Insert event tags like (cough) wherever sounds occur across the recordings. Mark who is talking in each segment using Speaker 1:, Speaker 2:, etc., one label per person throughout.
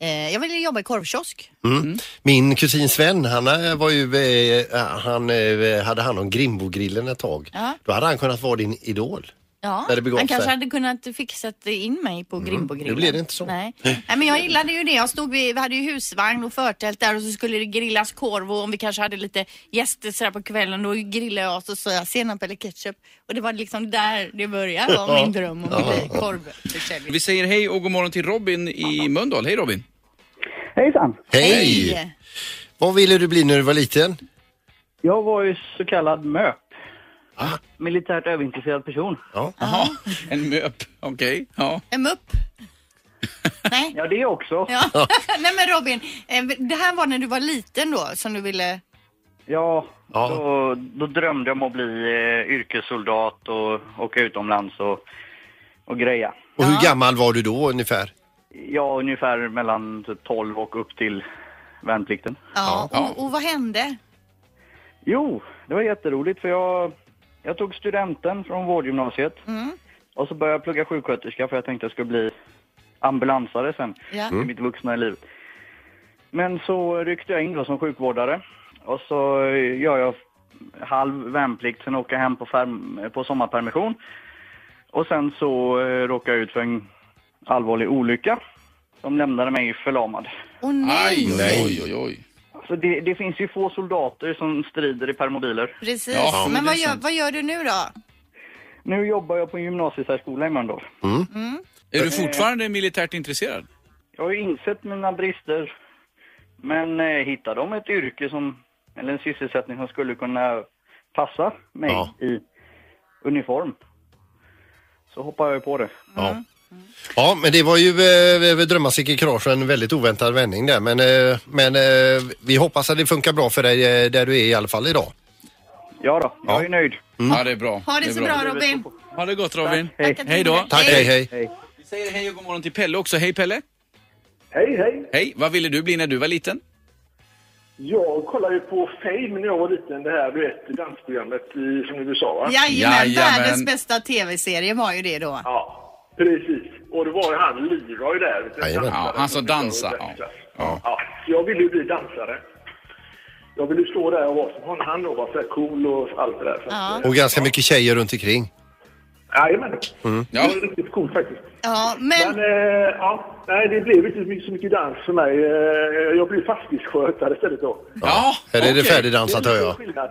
Speaker 1: Eh, jag ville jobba i korvkiosk.
Speaker 2: Mm. Min kusin Sven, han eh, var ju, eh, han eh, hade hand om Grimbogrillen ett tag.
Speaker 1: Ja.
Speaker 2: Då hade han kunnat vara din idol.
Speaker 1: Ja,
Speaker 2: Där det begav
Speaker 1: han kanske
Speaker 2: sig.
Speaker 1: hade kunnat fixat in mig på Grimbogrillen.
Speaker 2: nu blev det inte så.
Speaker 1: Nej. Nej, men jag gillade ju det. Jag stod vid, vi hade ju husvagn och förtält där och så skulle det grillas korv och om vi kanske hade lite gäster sådär på kvällen då grillade jag och så sa jag senap eller ketchup. Och det var liksom där det började, var min dröm om att bli korvförsäljare.
Speaker 3: Vi säger hej och god morgon till Robin i Mölndal. Hej Robin!
Speaker 4: Hejsan!
Speaker 2: Hej! Vad ville du bli när du var liten?
Speaker 4: Jag var ju så kallad MÖP. Militärt överintresserad person.
Speaker 3: Jaha, en MÖP. Okej, ja.
Speaker 1: En mupp? Nej.
Speaker 4: Ja, det också. Ja,
Speaker 1: Ja. (laughs) Nej men Robin, eh, det här var när du var liten då som du ville...
Speaker 2: Ja.
Speaker 4: Då, då drömde jag om att bli eh, yrkessoldat och åka utomlands och, och greja.
Speaker 2: Och hur gammal var du då ungefär?
Speaker 4: Ja, ungefär mellan typ 12 och upp till värnplikten.
Speaker 1: Ja.
Speaker 3: Ja.
Speaker 1: Och, och vad hände?
Speaker 4: Jo, det var jätteroligt för jag, jag tog studenten från vårdgymnasiet och så började jag plugga sjuksköterska för jag tänkte jag skulle bli ambulansare sen
Speaker 1: Ja.
Speaker 4: i mitt vuxna liv. Men så ryckte jag in då som sjukvårdare och så gör jag halv värnplikt, sen åker jag hem på, färm, på sommarpermission och sen så eh, råkade jag ut för en allvarlig olycka som lämnade mig förlamad.
Speaker 1: Och nej!
Speaker 3: Aj, oj, oj, oj.
Speaker 4: Så det, det finns ju få soldater som strider i permobiler.
Speaker 1: Precis.
Speaker 3: Ja,
Speaker 1: men
Speaker 3: men det
Speaker 1: vad
Speaker 3: är
Speaker 1: gör,
Speaker 3: sant.
Speaker 1: vad gör du nu då?
Speaker 4: Nu jobbar jag på en gymnasiesärskola i Mölndal.
Speaker 3: Är du
Speaker 1: Eh.
Speaker 3: fortfarande militärt intresserad?
Speaker 4: Jag har ju insett mina brister, men eh, hittar de ett yrke som, eller en sysselsättning som skulle kunna passa mig
Speaker 2: Ja.
Speaker 4: i uniform så hoppar jag ju på det.
Speaker 2: Ja. Ja, men det var ju eh, drömmasicke Krasch en väldigt oväntad vändning där. Men, eh, men eh, vi hoppas att det funkar bra för dig eh, där du är i alla fall idag.
Speaker 4: Ja då, jag
Speaker 2: Ja.
Speaker 4: är nöjd.
Speaker 1: Mm.
Speaker 3: Ja, det är bra.
Speaker 1: Ha det,
Speaker 3: är
Speaker 1: så bra, Robin.
Speaker 3: Ha det gott Robin.
Speaker 4: Hej.
Speaker 1: Tack att du
Speaker 3: Hej då.
Speaker 1: ringde.
Speaker 2: Tack, hej hej.
Speaker 3: Vi säger hej och god morgon till Pelle också. Hej Pelle!
Speaker 5: Hej, hej!
Speaker 3: Hej, vad ville du bli när du var liten?
Speaker 5: Jag kollade ju på Fame när jag var liten, det här du vet, dansprogrammet i, från USA va?
Speaker 1: Jajamän,
Speaker 3: Jajamän.
Speaker 1: världens bästa tv-serie var ju det då.
Speaker 5: Ja, precis. Och det var ju han Leroy där. vet du,
Speaker 2: Jajamän.
Speaker 5: dansaren
Speaker 3: Ja, han som dansar,
Speaker 5: var i Texas.
Speaker 3: ja.
Speaker 5: Ja. så jag ville ju bli dansare. Jag ville ju stå där och vara som hon, han och vara så här cool och allt det där. Så
Speaker 1: Ja.
Speaker 5: att, eh,
Speaker 2: Och ganska mycket tjejer runt omkring.
Speaker 5: Jajamän.
Speaker 3: Ja.
Speaker 5: Det var riktigt coolt faktiskt.
Speaker 1: Ja,
Speaker 5: Men
Speaker 1: men
Speaker 5: eh, ja, nej, det blev inte så mycket, så mycket dans för mig. Eh, Jag blev fastighetsskötare istället då.
Speaker 3: Ja,
Speaker 2: Här är det
Speaker 3: okej.
Speaker 2: färdigdansat hör jag.
Speaker 5: skillnad.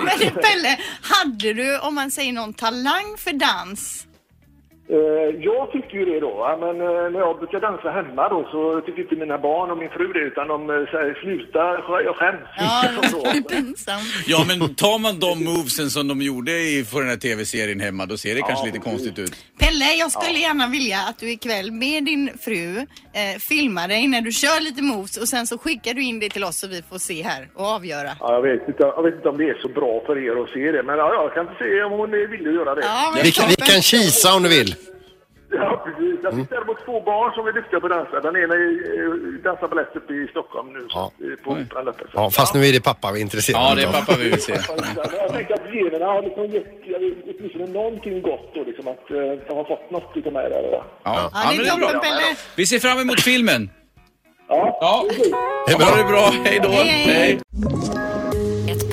Speaker 1: men Pelle, hade du, om man säger någon talang för dans?
Speaker 5: Eh, Jag tyckte ju det då, va, men eh, när jag brukar dansa hemma då så tyckte inte mina barn och min fru det utan de eh, säger sluta, sk- jag skäms.
Speaker 1: Ja,
Speaker 5: Och (laughs) så.
Speaker 1: det är pinsamt.
Speaker 3: Ja, men tar man de movesen som de gjorde i, för den här tv-serien hemma, då ser det kanske lite konstigt ut.
Speaker 1: Pelle, jag skulle gärna vilja att du ikväll med din fru eh, filmar dig när du kör lite moves och sen så skickar du in det till oss så vi får se här och avgöra.
Speaker 5: Ja, jag, vet inte, jag vet inte om det är så bra för er att se det, men ja, jag kan se om hon eh, vill göra det.
Speaker 1: Ja, men
Speaker 2: Vi, kan- vi
Speaker 1: toppen.
Speaker 2: kan kisa om du vill.
Speaker 5: Ja, precis. Jag fick däremot två barn som är duktiga på att dansa. Den ena eh, dansar balett uppe i Stockholm nu,
Speaker 2: Ja.
Speaker 5: eh, på Operan. där, så.
Speaker 2: Ja, fast nu är det pappa vi är intresserade
Speaker 3: Ja, det är
Speaker 2: av.
Speaker 3: pappa vi vill se.
Speaker 5: (laughs) Jag tänkte att generna har liksom gett jag vet, åtminstone någonting gott då, liksom att eh, de har fått något utav mig där. eller vad.
Speaker 3: Ja,
Speaker 1: Ja,
Speaker 3: men
Speaker 1: det
Speaker 3: det
Speaker 1: är
Speaker 3: är
Speaker 1: toppen
Speaker 3: bra.
Speaker 1: Pelle.
Speaker 3: Vi ser fram emot filmen.
Speaker 5: Ja.
Speaker 3: Ja,
Speaker 2: Det är
Speaker 3: ha det
Speaker 2: bra.
Speaker 3: bra. Hej då.
Speaker 1: Hej, hej.
Speaker 6: Ett